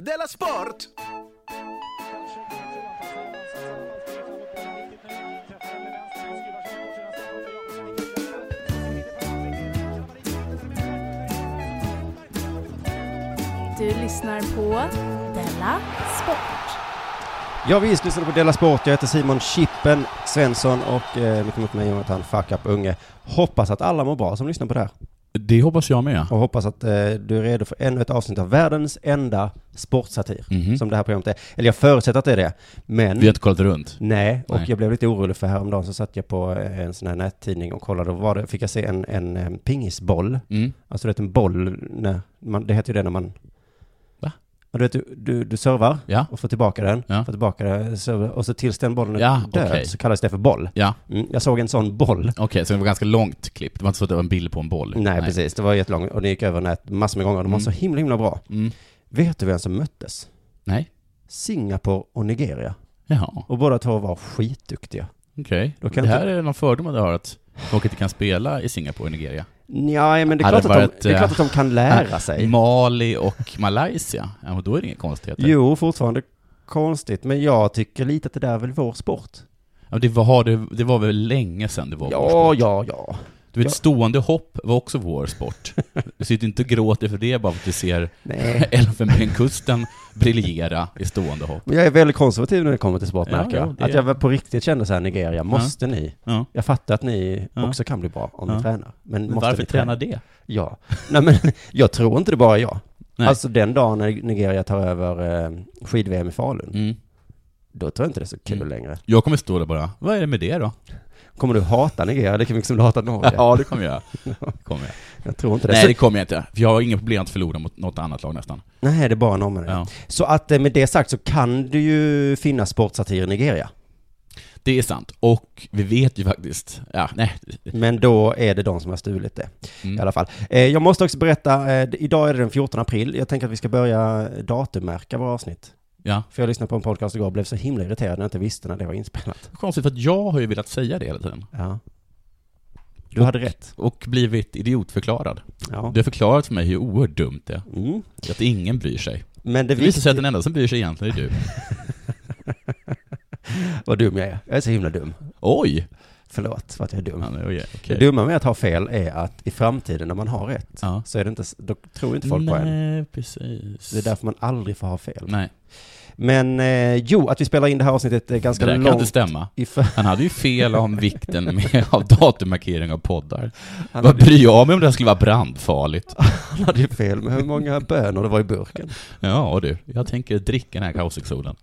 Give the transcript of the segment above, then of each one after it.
Della Sport! Du lyssnar på Della Sport. Ja visst, lyssnar på Della Sport. Jag heter Simon Chippen Svensson och eh, mitt emot mig Jonathan Fuck Up Unge. Hoppas att alla mår bra som lyssnar på det här. Det hoppas jag med. Och hoppas att eh, du är redo för ännu ett avsnitt av världens enda sportsatir. Mhm. Som det här programmet är. Eller jag förutsätter att det är det. Men... Vi har inte kollat runt. Nej, och Nej. jag blev lite orolig för häromdagen så satt jag på eh, en sån här nättidning och kollade och var det, fick jag se en, en, eh, pingisboll. Mm. Alltså du vet en boll, när man, det heter ju det när man... Va? Ja, du vet, du, du, du servar Ja. och får tillbaka den, Ja. får tillbaka den, servar, och så tills den bollen är Ja, död okej. så kallas det för boll. Ja, Mm, jag såg en sån boll. okej, så det var ganska långt klipp. Det var inte så att det var en bild på en boll. Nej, precis, det var jättelångt och det gick över nät massor med gånger och de var Mm. så himla himla bra. Mm. Vet du vem som möttes? Nej. Singapore och Nigeria. Jaha, Och båda två var skitduktiga. okej. Då kan Det här inte- är någon fördom man har att folk inte kan spela i Singapore och Nigeria. Nej, men det är, Hade klart att, de, varit, det är eh, klart att de kan lära sig. Mali och Malaysia. Ja, men då är det inga konstigheter. Jo, fortfarande konstigt, men jag tycker lite att det där är väl vår sport. Ja, det, var, det, det var väl länge sedan det var vår Ja, sport. ja, ja. Du vet, ja. stående hopp var också vår sport. Du sitter inte och gråter för det bara för att du ser Nej. Elfenbenskusten briljera i stående hopp. Men jag är väldigt konservativ när det kommer till sport, Ja, märker jo, jag. det- Att jag väl på riktigt kände så här, Nigeria, måste ni? Ja. Jag fattar att ni Ja. också kan bli bra om ni Ja. tränar. Men, Men måste varför ni träna? träna det? Ja. Nej, men jag tror inte det bara är jag. Nej. Alltså den dagen när Nigeria tar över eh, skid-VM i Falun, Mm. då tror jag inte det är så kul Mm. längre. Jag kommer stå där bara, vad är det med det då? Kommer du hata Nigeria lika mycket som du hatar Norge? det kommer jag göra. Det kommer jag. liksom Jag tror inte det. Nej, Så- det kommer jag inte. För jag har inga problem att förlora mot något annat lag nästan. Nej, det är bara norrmännen. Ja. Så att eh, med det sagt så kan det ju finnas sportsatir i Nigeria. Det är sant. Och vi vet ju faktiskt, ja, nej. Men då är det de som har stulit det, Mm. i alla fall. Eh, jag måste också berätta, eh, d- idag är det den 14 april. Jag tänker att vi ska börja eh, datummärka våra avsnitt. Ja. För jag lyssnade på en podcast igår och blev så himla irriterad när jag inte visste när det var inspelat. Konstigt, för att jag har ju velat säga det hela tiden. Ja. Du hade rätt. Och blivit idiotförklarad. Ja. Du har förklarat för mig hur oerhört dumt det är. Mm. Att ingen bryr sig. Men det Det visar visste sig att den enda som bryr sig egentligen är du. vad dum jag är. Jag är så himla dum. Oj! Förlåt för att jag är dum. Ja, nej, oj, Det okej. dumma med att ha fel är att i framtiden när man har rätt Ja. så är det inte, s- då tror inte folk på en. Nej, precis. Det är därför man aldrig får ha fel. Nej, Men eh, jo, att vi spelar in det här avsnittet är det ganska där kan inte långt. stämma. I för... Han hade ju fel om vikten med, av datummarkering av poddar. han, Vad hade, bryr jag mig om det här skulle vara brandfarligt? han hade ju fel med hur många bönor det var i burken. Ja du, jag tänker dricka den här kausexolen.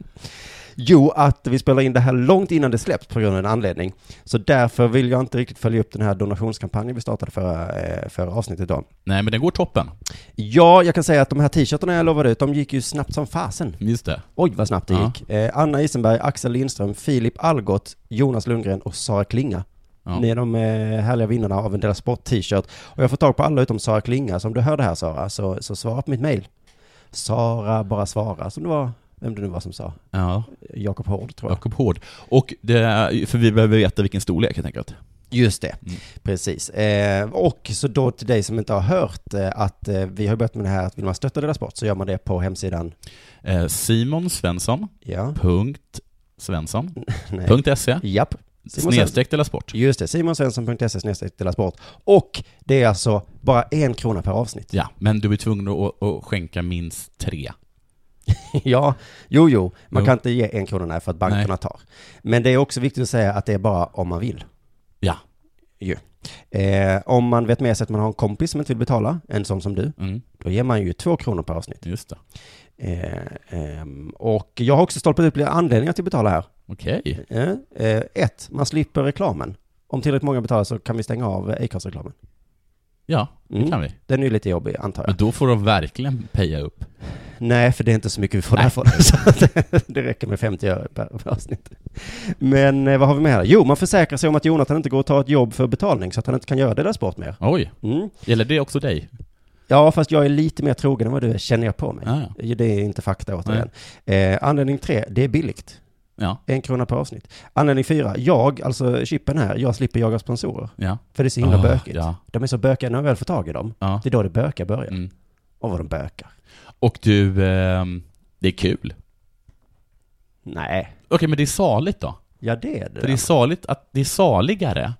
Jo, att vi spelar in det här långt innan det släpps på grund av en anledning. Så därför vill jag inte riktigt följa upp den här donationskampanjen vi startade förra, eh, förra avsnittet då. Nej men den går toppen. Ja, jag kan säga att de här t-shirtarna jag lovade ut, de gick ju snabbt som fasen. Just det. Oj, vad snabbt det Ja. gick. Eh, Anna Isenberg, Axel Lindström, Filip Algot, Jonas Lundgren och Sara Klinga. Ja. Ni är de eh, härliga vinnarna av en Della Sport t-shirt. Och jag får tag på alla utom Sara Klinga. Så om du hör det här Sara, så, så svara på mitt mejl. Sara bara svara, som det var, vem det nu var som sa. Ja, Jakob Hård tror jag. Jakob Hård. Och det, för vi behöver veta vilken storlek helt enkelt. Just det, Mm. precis. Eh, och så då till dig som inte har hört eh, att eh, vi har börjat med det här att vill man stötta Della Sport så gör man det på hemsidan. Eh, Simon Svensson. Ja, Punkt Svensson. nej. Punkt SE. Japp. Simon Svensson. Snedstreck Della Sport. Just det, simonsvensson.se snedstreck Della Sport. Och det är alltså bara en krona per avsnitt. Ja, men du är tvungen att, att skänka minst tre. ja, jo, jo. Man Jo. kan inte ge en krona nej, för att bankerna Nej. tar. Men det är också viktigt att säga att det är bara om man vill. Ja. Ju. Eh, om man vet med sig att man har en kompis som inte vill betala, en sån som du, Mm, då ger man ju två kronor per avsnitt. just det. Eh, ehm, och jag har också stolpat upp lite anledningar till att betala här. Okej. Eh, eh, ett, man slipper reklamen. Om tillräckligt många betalar så kan vi stänga av eh, Acast-reklamen. Ja, det Mm. kan vi. Den är ju lite jobbig, antar jag. Men då får de verkligen peja upp. Nej, för det är inte så mycket vi får därifrån. Så att det räcker med 50 öre per per avsnitt. Men eh, vad har vi med här? Jo, man försäkrar sig om att Jonathan inte går och tar ett jobb för betalning så att han inte kan göra det där sport mer. Oj, Mm. gäller det också dig? Ja, fast jag är lite mer trogen än vad du är, känner jag på mig. Ja, ja. Det är inte fakta återigen. Eh, anledning tre, det är billigt. Ja, En krona per avsnitt. Anledning fyra, jag, alltså chippen här, jag slipper jaga sponsorer. ja. För det är så himla Ah, bökigt. Ja, Mm. De är så bökiga när man väl får tag i dem. ja. Det är då det bökiga börjar. Mm. Och vad de bökar. Och du, ehm, Det är kul. Nej. Okej, men det är saligt då? Ja, det är det. För det är saligt att, det är saligare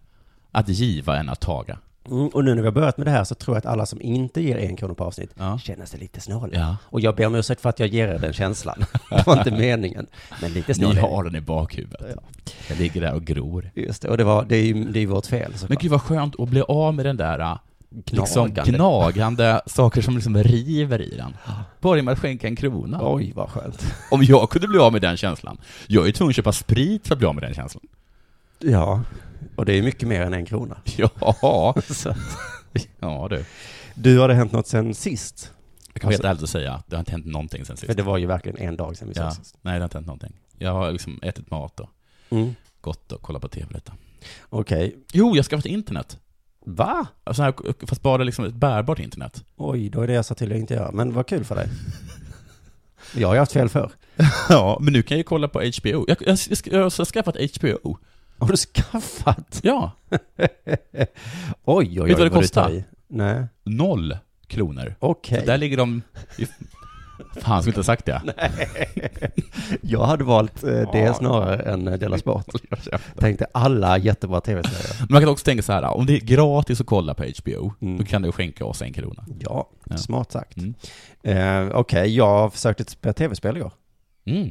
att giva än att taga. Mm, och nu när vi har börjat med det här så tror jag att alla som inte ger en krona på avsnitt Ja. känner sig lite snåliga. Ja. Och jag ber om ursäkt för att jag ger er den känslan. Det var inte meningen. Men lite Ni snåliga. har den i bakhuvudet. Jag ligger där och gror. Just det, och det, var, det, är, ju, det är ju vårt fel Men såklart. gud vad skönt att bli av med den där äh, liksom Knagande. gnagande saker som liksom river i den. Bara genom att skänka en krona. Oj, vad skönt. Om jag kunde bli av med den känslan. Jag är tvungen att köpa sprit för att bli av med den känslan. Ja, och det är mycket mer än en krona. Ja, Så. ja du. Du, har det hänt något sen sist? Jag kan vara helt ärlig och säga, det har inte hänt någonting sen För sist. det var ju verkligen en dag sen vi Ja, sågs sist. nej, det har inte hänt någonting. Jag har liksom ätit mat och Mm. gått och kollat på TV lite. Okej. Jo, jag har skaffat internet. Va? Alltså här, fast bara liksom ett bärbart internet. Oj, då är det jag sa till att inte göra. Men vad kul för dig. Jag har ju haft fel förr. Ja, men nu kan jag ju kolla på HBO. Jag, jag, jag, jag har skaffat HBO. Har du skaffat? Ja, Oj, oj, oj. Vet du vad det du kostar? tar i. Nej. noll kronor. Okej. Så där ligger de... i- Fan, skulle inte ha sagt det. Jag hade valt eh, det Ja. snarare än eh, Dela Sport. Tänkte alla jättebra tv-serier. Men man kan också tänka så här, om det är gratis att kolla på HBO, Mm. då kan du skänka oss en krona. Ja, Ja. smart sagt. Mm. Eh, Okej, jag försökte spela tv-spel igår. Mm.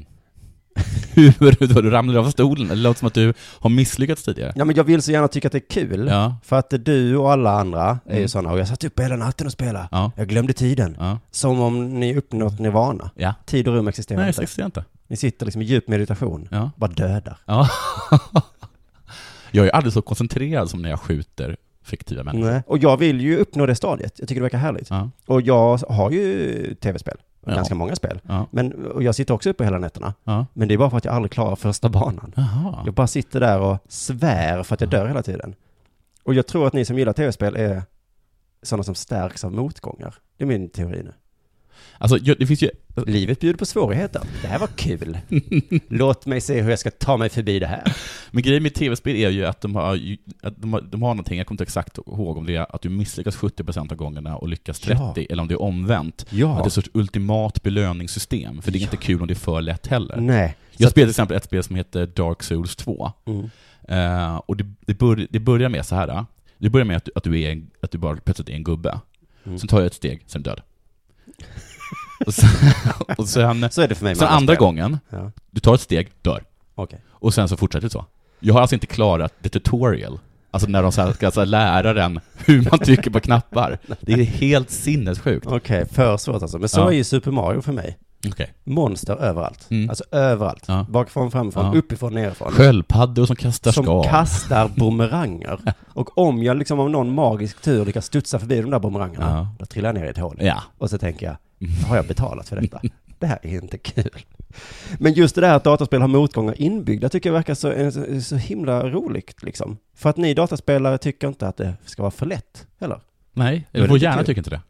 Hur då? Du ramlade av stolen? Det låter som att du har misslyckats tidigare. Ja, men jag vill så gärna tycka att det är kul. Ja, För att du och alla andra är ju Mm. sådana. Och jag satt uppe hela natten och spelade. ja, Jag glömde tiden. ja. Som om ni uppnått nirvana. ja. Tid och rum existerar Nej, det inte. existerar inte. Ni sitter liksom i djup meditation. Ja. Bara dödar. ja. Jag är aldrig så koncentrerad som när jag skjuter fiktiva människor. Nej. Och jag vill ju uppnå det stadiet. Jag tycker det verkar härligt. Ja, Och jag har ju tv-spel. Ja. Ganska många spel. ja, Men, och jag sitter också uppe hela nätterna. ja. Men det är bara för att jag aldrig klarar första banan. Jaha. Jag bara sitter där och svär för att jag dör hela tiden. Och jag tror att ni som gillar tv-spel är sådana som stärks av motgångar. Det är min teori nu. Alltså, jag- det finns ju... Livet bjuder på svårigheter. Det här var kul. Låt mig se hur jag ska ta mig förbi det här. Men grejen med tv-spel är ju att de har, ju- att de har, de har någonting, jag kommer inte exakt ihåg om det är att du misslyckas 70% av gångerna och lyckas Ja. 30%, eller om det är omvänt. Ja. Att det är ett sorts ultimat belöningssystem, för det är inte kul om det är för lätt heller. Nej. Jag spelade till exempel ett spel som heter Dark Souls 2. Mm. Eh, och det, det, bör, det börjar med så här. eh. Det börjar med att, du- att, du är en, att du bara plötsligt är en gubbe. Mm. Sen tar jag ett steg, sen död. och sen, och sen, Så är det för mig med sen alla andra spel. gången, Ja. du tar ett steg, dör. Okej. Och sen så fortsätter det så. Jag har alltså inte klarat the tutorial. Alltså när de så här ska alltså lära den hur man trycker på knappar. Det är helt sinnessjukt. Okej, för svårt alltså. Men så Ja. är ju Super Mario för mig. Okej. Monster överallt. Mm. Alltså överallt. Ja. Bakifrån, framifrån, Ja. uppifrån, nerifrån. Sköldpaddor som kastar som skal. kastar bumeranger. Och om jag liksom av någon magisk tur lyckas studsa förbi de där bumerangerna, Ja. då trillar jag ner i ett hål. Ja. Och så tänker jag, har jag betalat för detta? Det här är inte kul. Men just det där att dataspel har motgångar inbyggda tycker jag verkar så, eh, så, så himla roligt liksom. För att ni dataspelare tycker inte att det ska vara för lätt, eller? Nej, Men det vår tycker hjärna jag. tycker inte det.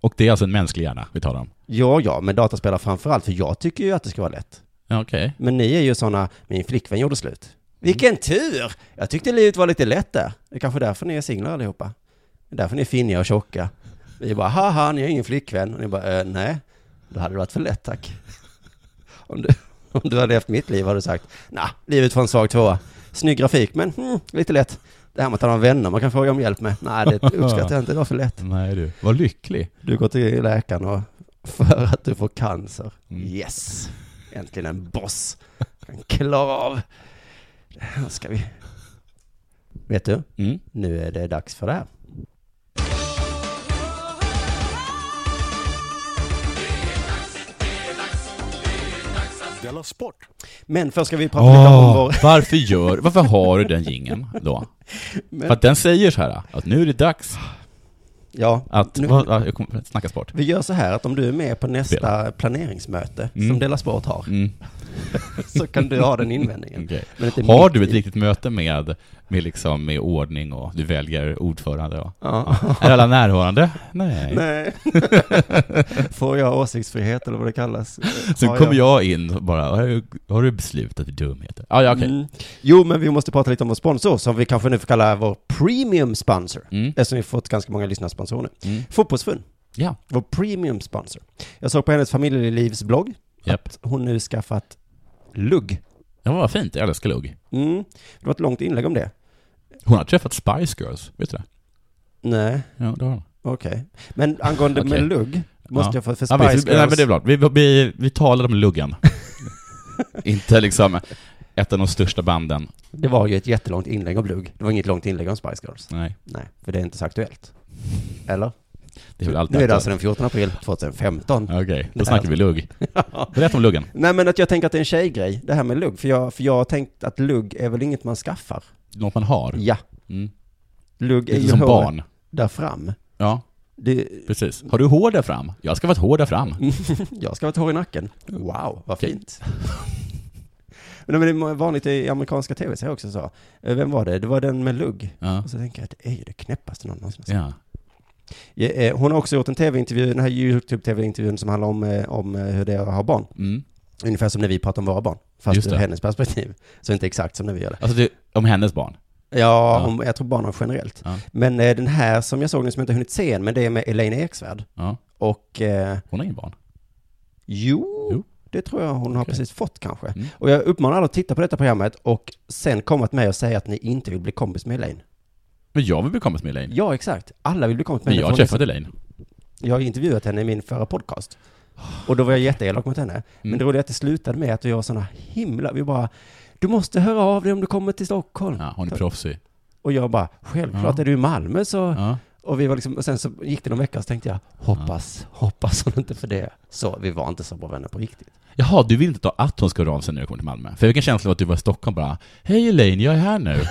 Och det är alltså en mänsklig hjärna vi talar om. Ja, ja, men dataspelare framförallt, för jag tycker ju att det ska vara lätt. Ja, Okej. Men ni är ju sådana, min flickvän gjorde slut. Vilken tur! Jag tyckte livet var lite lätt där. Det är kanske därför ni är singlar allihopa. Det är därför ni är finniga och tjocka. Vi bara, haha, ni har ingen flickvän. Och ni bara, "Eh, nej, då hade det varit för lätt tack. Om du, om du hade levt mitt liv hade du sagt, nah, livet får en svag tvåa. Snygg grafik, men hmm, lite lätt. Det här med att ha några vänner man kan fråga om hjälp med, nej, det uppskattar jag inte, det var för lätt. Nej du, var lycklig. Du går till läkaren och för att du får cancer. Mm. Yes! Äntligen en boss. Kan klara av. Det här ska vi... Vet du? Mm. Nu är det dags för det här. Della Sport! Men först ska vi prata lite om vår... Ah. Varför gör, varför har du den gingen då? Men- För att den säger så här, att nu är det dags Ja, att, nu, vad- ja, jag kommer snacka sport. vi gör så här att om du är med på nästa planeringsmöte som Mm. Dela Sport har, Mm. så kan du ha den invändningen. okej. Men inte Har mitt du ett i. riktigt möte med, med, liksom, med ordning och du väljer ordförande? Och, Ja. Är alla närvarande? Nej. Nej. Får jag åsiktsfrihet eller vad det kallas? Sen Har kommer jag in och bara, har du, har du beslutat för dumheter? Ah, ja, okej. Mm. Jo, men vi måste prata lite om vår sponsor, som vi kanske nu får kalla vår premium sponsor. Mm. Eftersom vi fått ganska många lyssnarsponsorer nu. Mm. Fotbollsfun, Ja. vår premium sponsor. Jag såg på hennes familjelivsblogg Japp. att hon nu skaffat lugg. Ja, vad fint. Jag älskar lugg. Mm. Det var ett långt inlägg om det. Hon har träffat Spice Girls, vet du det? Nej, Ja, det har hon. okej. Men angående Okej. med lugg, måste Ja. jag få för Ja, Spice visst, nej, Girls- men det är bra. Vi, vi, vi talade om luggen. Inte liksom ett av de största banden. det var ju ett jättelångt inlägg om lugg. Det var inget långt inlägg om Spice Girls. Nej, Nej, för det är inte så aktuellt. Eller? det är väl alltid nu är det ett- alltså den 14 april 2015. Okej, då snackar vi lugg. Berätta om luggen. Nej men att jag tänker att det är en tjejgrej, det här med lugg. För jag, för jag har tänkt att lugg är väl inget man skaffar? Något man har. Ja, Mm. lugg är Lite ju som hår barn. där fram. Ja, Det, precis. Har du hår där fram? Jag ska vara ett hår där fram. Mm. jag ska ha ett hår i nacken. Wow, vad Mm. Okej. fint. men det är vanligt i amerikanska tv-serier också så. Eh, Vem var det? Det var den med lugg. Ja. Och så tänker jag att det är ju det knäppaste någon någonsin har ja. Ja, eh, Hon har också gjort en tv-intervju, den här YouTube-tv-intervjun som handlar om, eh, om eh, hur det är att ha barn. Mm. Ungefär som när vi pratar om våra barn, Just fast det. ur hennes perspektiv. Så inte exakt som när vi gör det. Alltså, det, om hennes barn. Ja, Om, jag tror barn har generellt. Ja. Men eh, den här som jag såg nu som jag inte hunnit se än, men det är med Elaine Eksvärd. Ja. Och eh, Hon har ingen barn. jo, Jo. det tror jag hon har Okej. precis fått kanske. Mm. Och jag uppmanar alla att titta på detta programmet och sen komma till mig och säga att ni inte vill bli kompis med Elaine. Men jag vill bli kompis med Elaine. Ja, exakt. Alla vill bli kompis med Men henne. jag för har hon är träffat Elaine. Jag har intervjuat henne i min förra podcast. Och då var jag jätteelak mot henne. Mm. Men det roliga är att det slutade med att vi var sådana himla, vi bara, du måste höra av dig om du kommer till Stockholm. Ja, hon är proffsig. Och jag bara, självklart Ja. är du i Malmö så, Ja. och vi var liksom, och sen så gick det någon vecka så tänkte jag, hoppas, hoppas hon inte för det. Så vi var inte så bra vänner på riktigt. Jaha, du vill inte ta att hon ska höra av sig när du kommer till Malmö? För jag fick en känsla av att du var i Stockholm bara Hej Elaine, jag är här nu.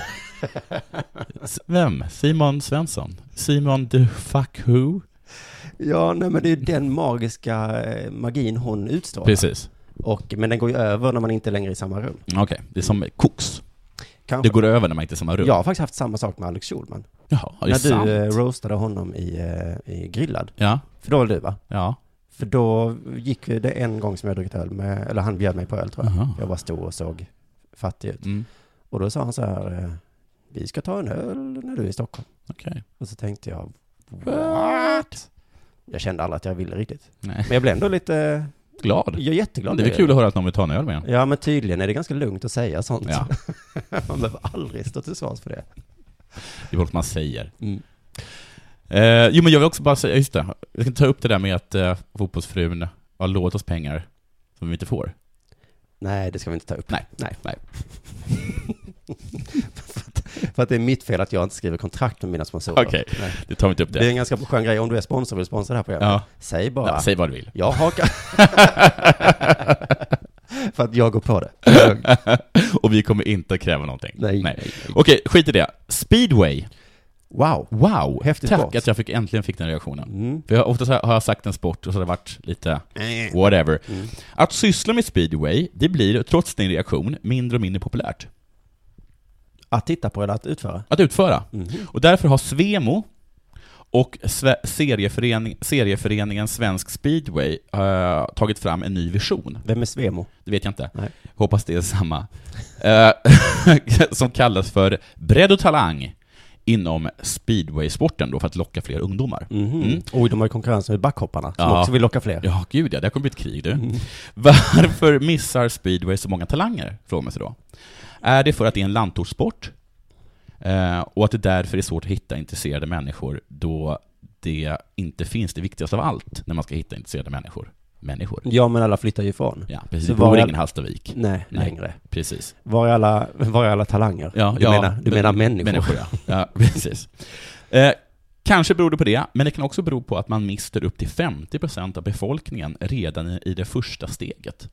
S- Vem? Simon Svensson? Simon the fuck who? Ja, nej men det är ju den magiska eh, magin hon utstrålar. Precis. Och, men den går ju över när man inte är längre i samma rum. Okej, det är som koks. Kanske. Det går över när man inte är i samma rum. Jag har faktiskt haft samma sak med Alex Schulman. Jaha, det är När du sant. eh, roastade honom i, eh, i Grillad. Ja, För då var du va? ja. För då gick det en gång som jag druckit öl med, eller han bjöd mig på öl tror jag. Aha. Jag bara stod och såg fattig ut. Mm. Och då sa han så här, eh, vi ska ta en öl när du är i Stockholm. Okej. Och så tänkte jag, What? jag kände aldrig att jag ville riktigt. Nej. Men jag blev ändå lite, Glad. jag är jätteglad. Det är väl kul att höra att någon vill ta en öl med en. Ja men tydligen är det ganska lugnt att säga sånt. Ja, Man behöver aldrig stå till svars för det. det är vad man säger. Mm. Eh, jo men jag vill också bara säga, just det, jag ska ta upp det där med att eh, fotbollsfrun har lovat oss pengar som vi inte får. Nej, det ska vi inte ta upp. Nej. Nej. Nej. för, att, för att det är mitt fel att jag inte skriver kontrakt med mina sponsorer. Okej. Nej. Det tar vi inte upp det. Det är en ganska skön grej om du är sponsor och vill sponsra det här programmet. Ja. Säg bara. Ja, säg vad du vill. Jag hakar. För att jag går på det. Och vi kommer inte att kräva någonting. Nej. Okej, skit i det. Speedway. Wow. Wow! Häftig Tack sport. att jag fick, äntligen fick den reaktionen. Mm. För jag, oftast har jag sagt en sport och så har det varit lite whatever. Att syssla med speedway, det blir, trots din reaktion, mindre och mindre populärt. Att titta på eller att utföra. Mhm. Att utföra. Och därför har Svemo och sve, serieförening, serieföreningen Svensk Speedway eh, tagit fram en ny vision. Vem är Svemo? Det vet jag inte. Nej. Hoppas det är samma. Eh, som kallas för bredd och talang inom speedwaysporten då för att locka fler ungdomar. Mm. Mhm. Oj, de har ju konkurrens med backhopparna som Ja. också vill locka fler. Mhm. Ja, gud ja, det här kommer bli ett krig du. Mm. Varför missar speedway så många talanger? Frågar man sig då. Är det för att det är en landtortssport? Eh, och att det därför är svårt att hitta intresserade människor då det inte finns det viktigaste av allt när man ska hitta intresserade människor. Människor. Ja, men alla flyttar ju ifrån. Ja, precis. Så det bor var- ingen Hallstavik. Nej, Nej. längre. Precis. Var är alla, var är alla talanger? Ja, du ja, menar, du menar människor? ja. ja precis. Eh, kanske beror det på det, men det kan också bero på att man mister upp till 50% av befolkningen redan i- i det första steget.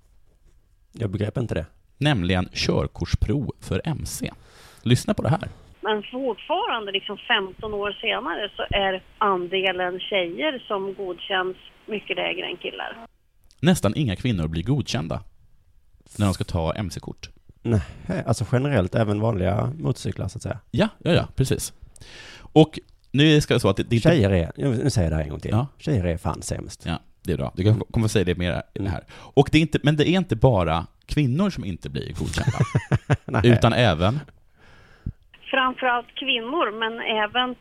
Jag begrep inte det. Nämligen körkortsprov för MC. Lyssna på det här. Men fortfarande, liksom 15 år senare, så är andelen tjejer som godkänns mycket lägre än killar. Nästan inga kvinnor blir godkända när de ska ta MC-kort. Nej, alltså generellt, även vanliga motorcyklar så att säga. Ja, ja, ja, precis. Och nu ska jag så att det, det är inte Tjejer är, nu säger jag det här en gång till. Ja. Tjejer är fan sämst. Ja, det är bra. Du kan- kommer att säga det mer i det här. Och det är inte, men det är inte bara kvinnor som inte blir godkända. utan även Framförallt kvinnor, men även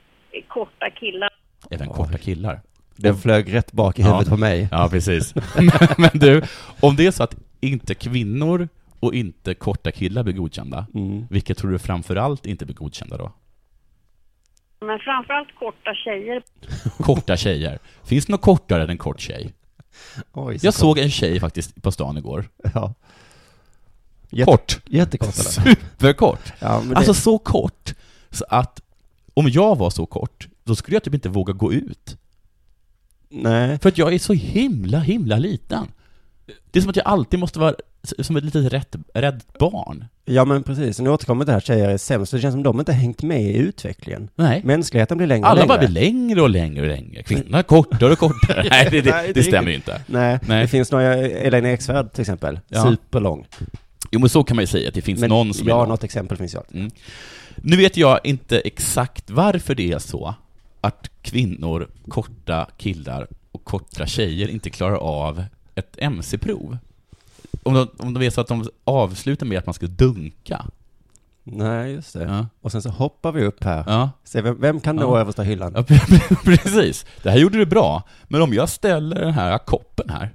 korta killar. Även korta killar. Den flög rätt bak i huvudet Ja. på mig. Ja, precis. men, men du, om det är så att inte kvinnor och inte korta killar blir godkända, Mm. vilka tror du framförallt inte blir godkända då? Men framförallt korta tjejer. Korta tjejer. Finns det något kortare än en kort tjej? Oj, Jag såg en tjej faktiskt på stan igår. Ja. Jätte- Kort. Jättekort. eller? Superkort. Ja, men det... Alltså så kort, så att om jag var så kort, då skulle jag typ inte våga gå ut. nej. För att jag är så himla, himla liten. Det är som att jag alltid måste vara s- som ett litet rätt, rätt barn. Ja men precis, nu återkommer det här tjejer är sämst, det känns som de inte hängt med i utvecklingen. Nej. Mänskligheten blir längre och Alla längre. bara blir längre och längre och längre. Kvinnorna är kortare och kortare. Nej, det, Nej, det, inte det stämmer ju inte. Nej, Nej. det finns några, Elaine Eksvärd till exempel, Ja. superlång. Jo, men så kan man ju säga att det finns någon som är ja, lång. något exempel finns ju alltid. Nu vet jag inte exakt varför det är så att kvinnor, korta killar och korta tjejer inte klarar av ett MC-prov. Om de, om de är så att de avslutar med att man ska dunka. Nej, just det. Ja. Och sen så hoppar vi upp här. Ja. Se vem, vem kan nå Ja. översta hyllan? Ja, precis. Det här gjorde du bra. Men om jag ställer den här koppen här.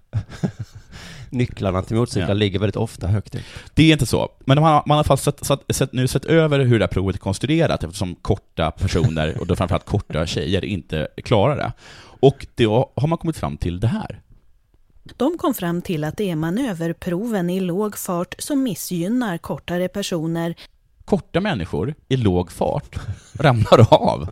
Nycklarna till motorcyklar Ja. ligger väldigt ofta högt upp. Det är inte så. Men man har, man har fast sett, sett, sett, nu sett över hur det här provet är konstruerat eftersom korta personer, och då framförallt korta tjejer, inte klarar det. Och då har man kommit fram till det här. De kom fram till att det är manöverproven i låg fart som missgynnar kortare personer Korta människor i låg fart ramlar av.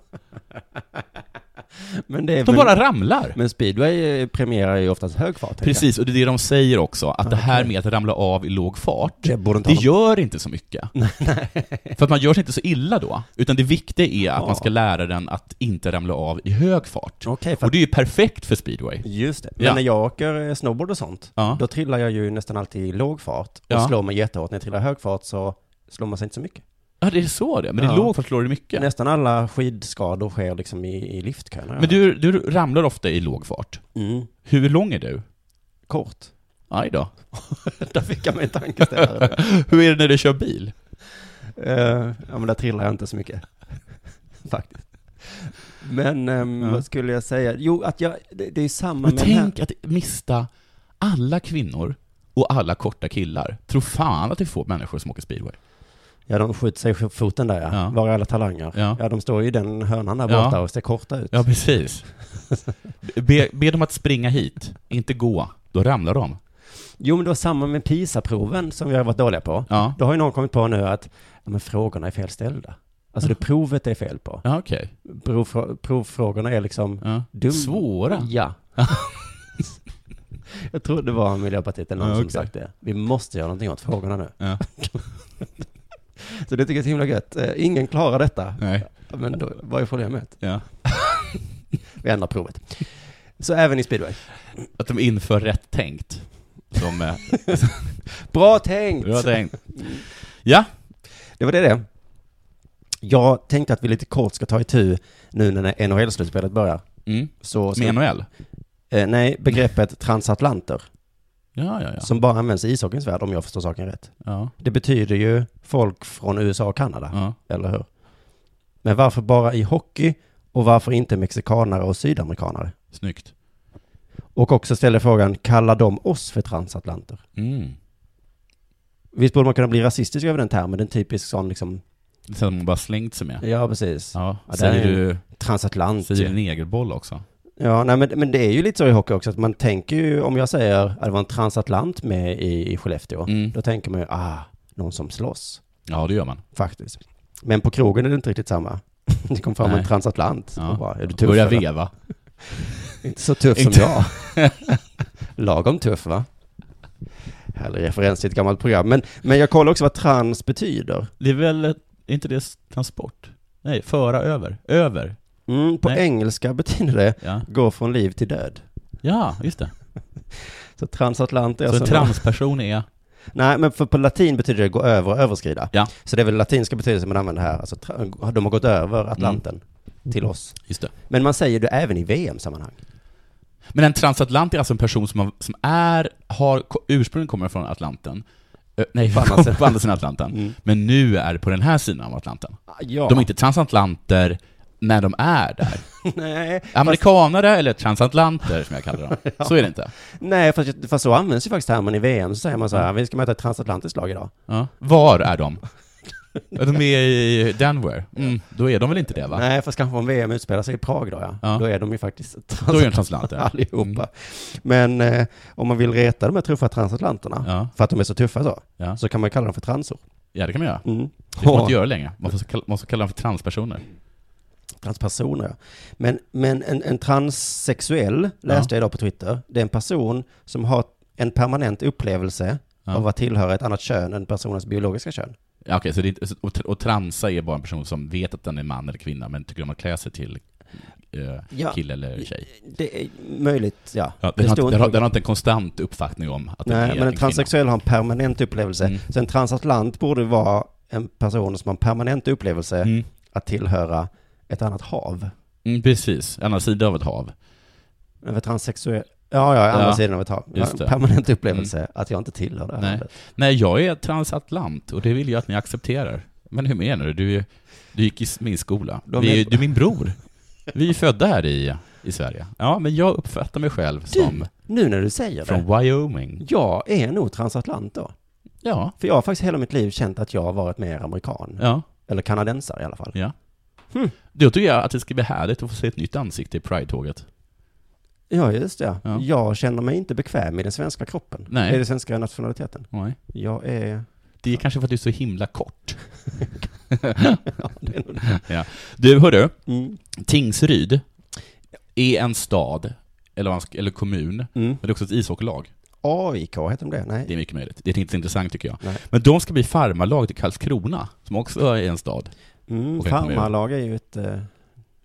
Men det är De väl... bara ramlar. Men speedway eh, premierar ju oftast hög fart. tänker Precis, och det är det de säger också, att det här med att ramla av i låg fart, jag. Det borde inte ha det någon- gör inte så mycket. För att man gör sig inte så illa då, utan det viktiga är att man ska lära den att inte ramla av i hög fart. Okej, för Och att... det är ju perfekt för speedway. Just det. Men Ja. när jag åker eh, snowboard och sånt, Ja. då trillar jag ju nästan alltid i låg fart. Och Ja. slår mig jättehårt. När jag trillar i hög fart så slår man sig inte så mycket. Ja, det är så det Men i Ja. låg fart slår det mycket. Nästan alla skidskador sker liksom i, i liftkön. Men du, du ramlar ofta i låg fart. Mm. Hur lång är du? Kort. Aj då. Där fick jag mig en tankeställare. Hur är det när du kör bil? Eh, ja, men där trillar jag inte så mycket. Faktiskt. Men ehm, Ja. vad skulle jag säga? Jo, att jag, det, det är ju samma Men med den tänk att mista alla kvinnor och alla korta killar. Tro fan att det är få människor som åker speedway. Ja, de skjuter sig i foten där ja. Ja. Var är alla talanger? Ja. Ja. de står ju i den hörnan där Ja. borta och ser korta ut. Ja, precis. Be, be dem att springa hit, inte gå. Då ramlar de. Jo, men det var samma med PISA-proven som vi har varit dåliga på. Ja, Då har ju någon kommit på nu att ja, men frågorna är felställda. Alltså det provet är fel på. ja okej. Provfrå- provfrågorna är liksom Ja. Dum. Svåra. Ja. jag tror det var Miljöpartiet eller någon Ja, som exakt. sagt det. Vi måste göra någonting åt frågorna nu. Ja. Så det tycker jag är så himla gött. Eh, Ingen klarar detta. Nej. Men då, vad är problemet? Ja. Vi ändrar provet. Så även i speedway. Att de inför rätt tänkt. Som eh, Bra tänkt! jag har tänkt. Ja, Det var det det. Jag tänkte att vi lite kort ska ta itu nu när NHL-slutspelet börjar. mm. Så ska, med NHL. eh, nej, begreppet transatlanter, Ja, ja, ja. som bara används i ishockeyns värld om jag förstår saken rätt. ja. Det betyder ju folk från USA och Kanada. ja. eller hur? Men varför bara i hockey och varför inte mexikanare och sydamerikanare? Snyggt. Och också ställer frågan, kallar de oss för transatlanter? Mm. Visst borde man kunna bli rasistisk över den termen, den typisk sån liksom, Det är så att man bara slängt sig med. ja precis, Ja, Ja, där säger är- du, transatlant. säger du negerboll också? Ja, nej men, men det är ju lite så i hockey också, att man tänker ju, om jag säger att det var en transatlant med i, i Skellefteå, Mm. då tänker man ju, ah, någon som slåss, Ja, det gör man. faktiskt. Men på krogen är det inte riktigt samma. Det kom fram Nej. en transatlant. Ja. Och bara, är du tuff? Börjar eller?" veva. Inte så tuff Inte. som jag. Lagom tuff va? Härlig referens till ett gammalt program. Men, men jag kollar också vad trans betyder. Det är väl, är inte det transport? Nej, föra över. Över. Mm, på Nej. engelska betyder det Ja, gå från liv till död. ja just det. Så transatlant är Så en alltså... transperson är... Nej, men för på latin betyder det gå över och överskrida. Ja. Så det är väl latinska betydelsen man använder här. Alltså, tra- de har gått över Mm. Atlanten till oss. Just det. Men man säger det även i VM-sammanhang. Men en transatlant är alltså en person som, har, som är, har, ko- ursprungligen kommer från Atlanten. Ö, nej, På andra sidan. Mm. på andra sidan Atlanten. Men nu är på den här sidan av Atlanten. Ja. De är inte transatlanter när de är där. Nej, Amerikanare eller transatlanter som jag kallar dem. Så är det inte. nej fast, jag- fast så används ju faktiskt termen i VM, så säger man så Mm. här, vi ska möta ett transatlantiskt lag idag. Ja. Var är de? Ja, De är i Denver. Mm, då är de väl inte det va? Nej, fast kanske om VM utspelar sig i Prag då, ja. Ja. Då är de ju faktiskt Då är de transatlanter transatlanter. allihopa. Mm. Men eh, om man vill reta de här tuffa transatlanterna, Ja. för att de är så tuffa så, Ja. så kan man kalla dem för transor. ja, det kan man göra. Mm. Det får man Och- inte göra längre. Man får kalla, man får kalla dem för transpersoner. transpersoner. ja. Men, men en, en transsexuell läste jag idag på Twitter. Det är en person som har en permanent upplevelse Ja. av att tillhöra ett annat kön än personens biologiska kön. Ja, okej, så det är, inte- och, och transa är bara en person som vet att den är man eller kvinna, men tycker om att klä sig till eh, Ja. kille eller tjej. Det är möjligt, ja. Ja, det den, har, står inte- den, har, inte- den har inte en konstant uppfattning om att Nej, den är men en en kvinna. transsexuell har en permanent upplevelse. Mm. Så en transatlant borde vara en person som har en permanent upplevelse Mm. att tillhöra ett annat hav. Mm, precis, en annan sida av ett hav. Men för transsexuell... Ja, ja, andra Ja, sidan av ett hav. just en det. Mm. permanent upplevelse att jag inte tillhör det här Nej. havet. Nej, jag är transatlant och det vill jag att ni accepterar. Men hur menar du? Du, är- du gick i min skola. De Vi, är- är- Du är min bror. Vi är födda här i, i Sverige. Ja, men jag uppfattar mig själv som Nu när du säger det. från Wyoming. Jag är nog transatlant då. Ja, För jag har faktiskt hela mitt liv känt att jag har varit mer amerikan. ja, Eller kanadensare i alla fall. ja. Hmm. Då tycker jag att det ska bli härligt att få se ett nytt ansikte i Pride-tåget. Ja, just det. Ja. Jag känner mig inte bekväm i den svenska kroppen. Nej. I den svenska nationaliteten. Nej. Jag är... Det är kanske för att du är så himla kort. Ja, det är nog... Ja. Du, hörru. mm. Tingsryd är en stad, eller, vad man ska- eller kommun, men Mm. det är också ett ishockeylag. AIK, heter de det? Nej. Det är mycket möjligt. Det är inte så intressant tycker jag. Nej. Men de ska bli farmarlag till Karlskrona, som också är en stad. Mm, Okej, kom igen. farmarlag är ju ett eh,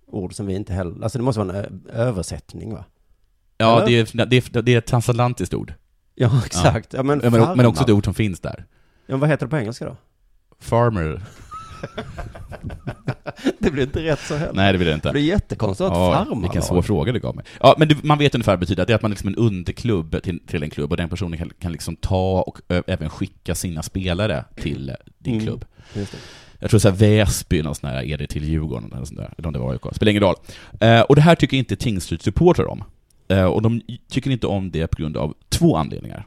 ord som vi inte heller... Alltså det måste vara en ö- översättning va? Ja, Eller? det är, det, är, det är ett transatlantiskt ord. Ja, exakt. Ja, men, Men, men också farmar. det ord som finns där. Ja, vad heter det på engelska då? Farmer. Det blir inte rätt så heller. Nej, det vill Det jag inte. blir jättekonstigt att ha ett Ja, farmarlag. vilken svår fråga du gav mig. Ja, men det, man vet ungefär vad det betyder. Det är att man liksom är en underklubb till, till en klubb och den personen kan, kan liksom ta och ö, även skicka sina spelare till eh, din Mm. klubb. Just det. Jag tror så här Väsby, någon sån här, är det till Djurgården eller sån där, eller om det var AIK. Spelar ingen roll. Eh, och det här tycker inte Tingsryd-supportrar om. Eh, och de tycker inte om det på grund av två anledningar.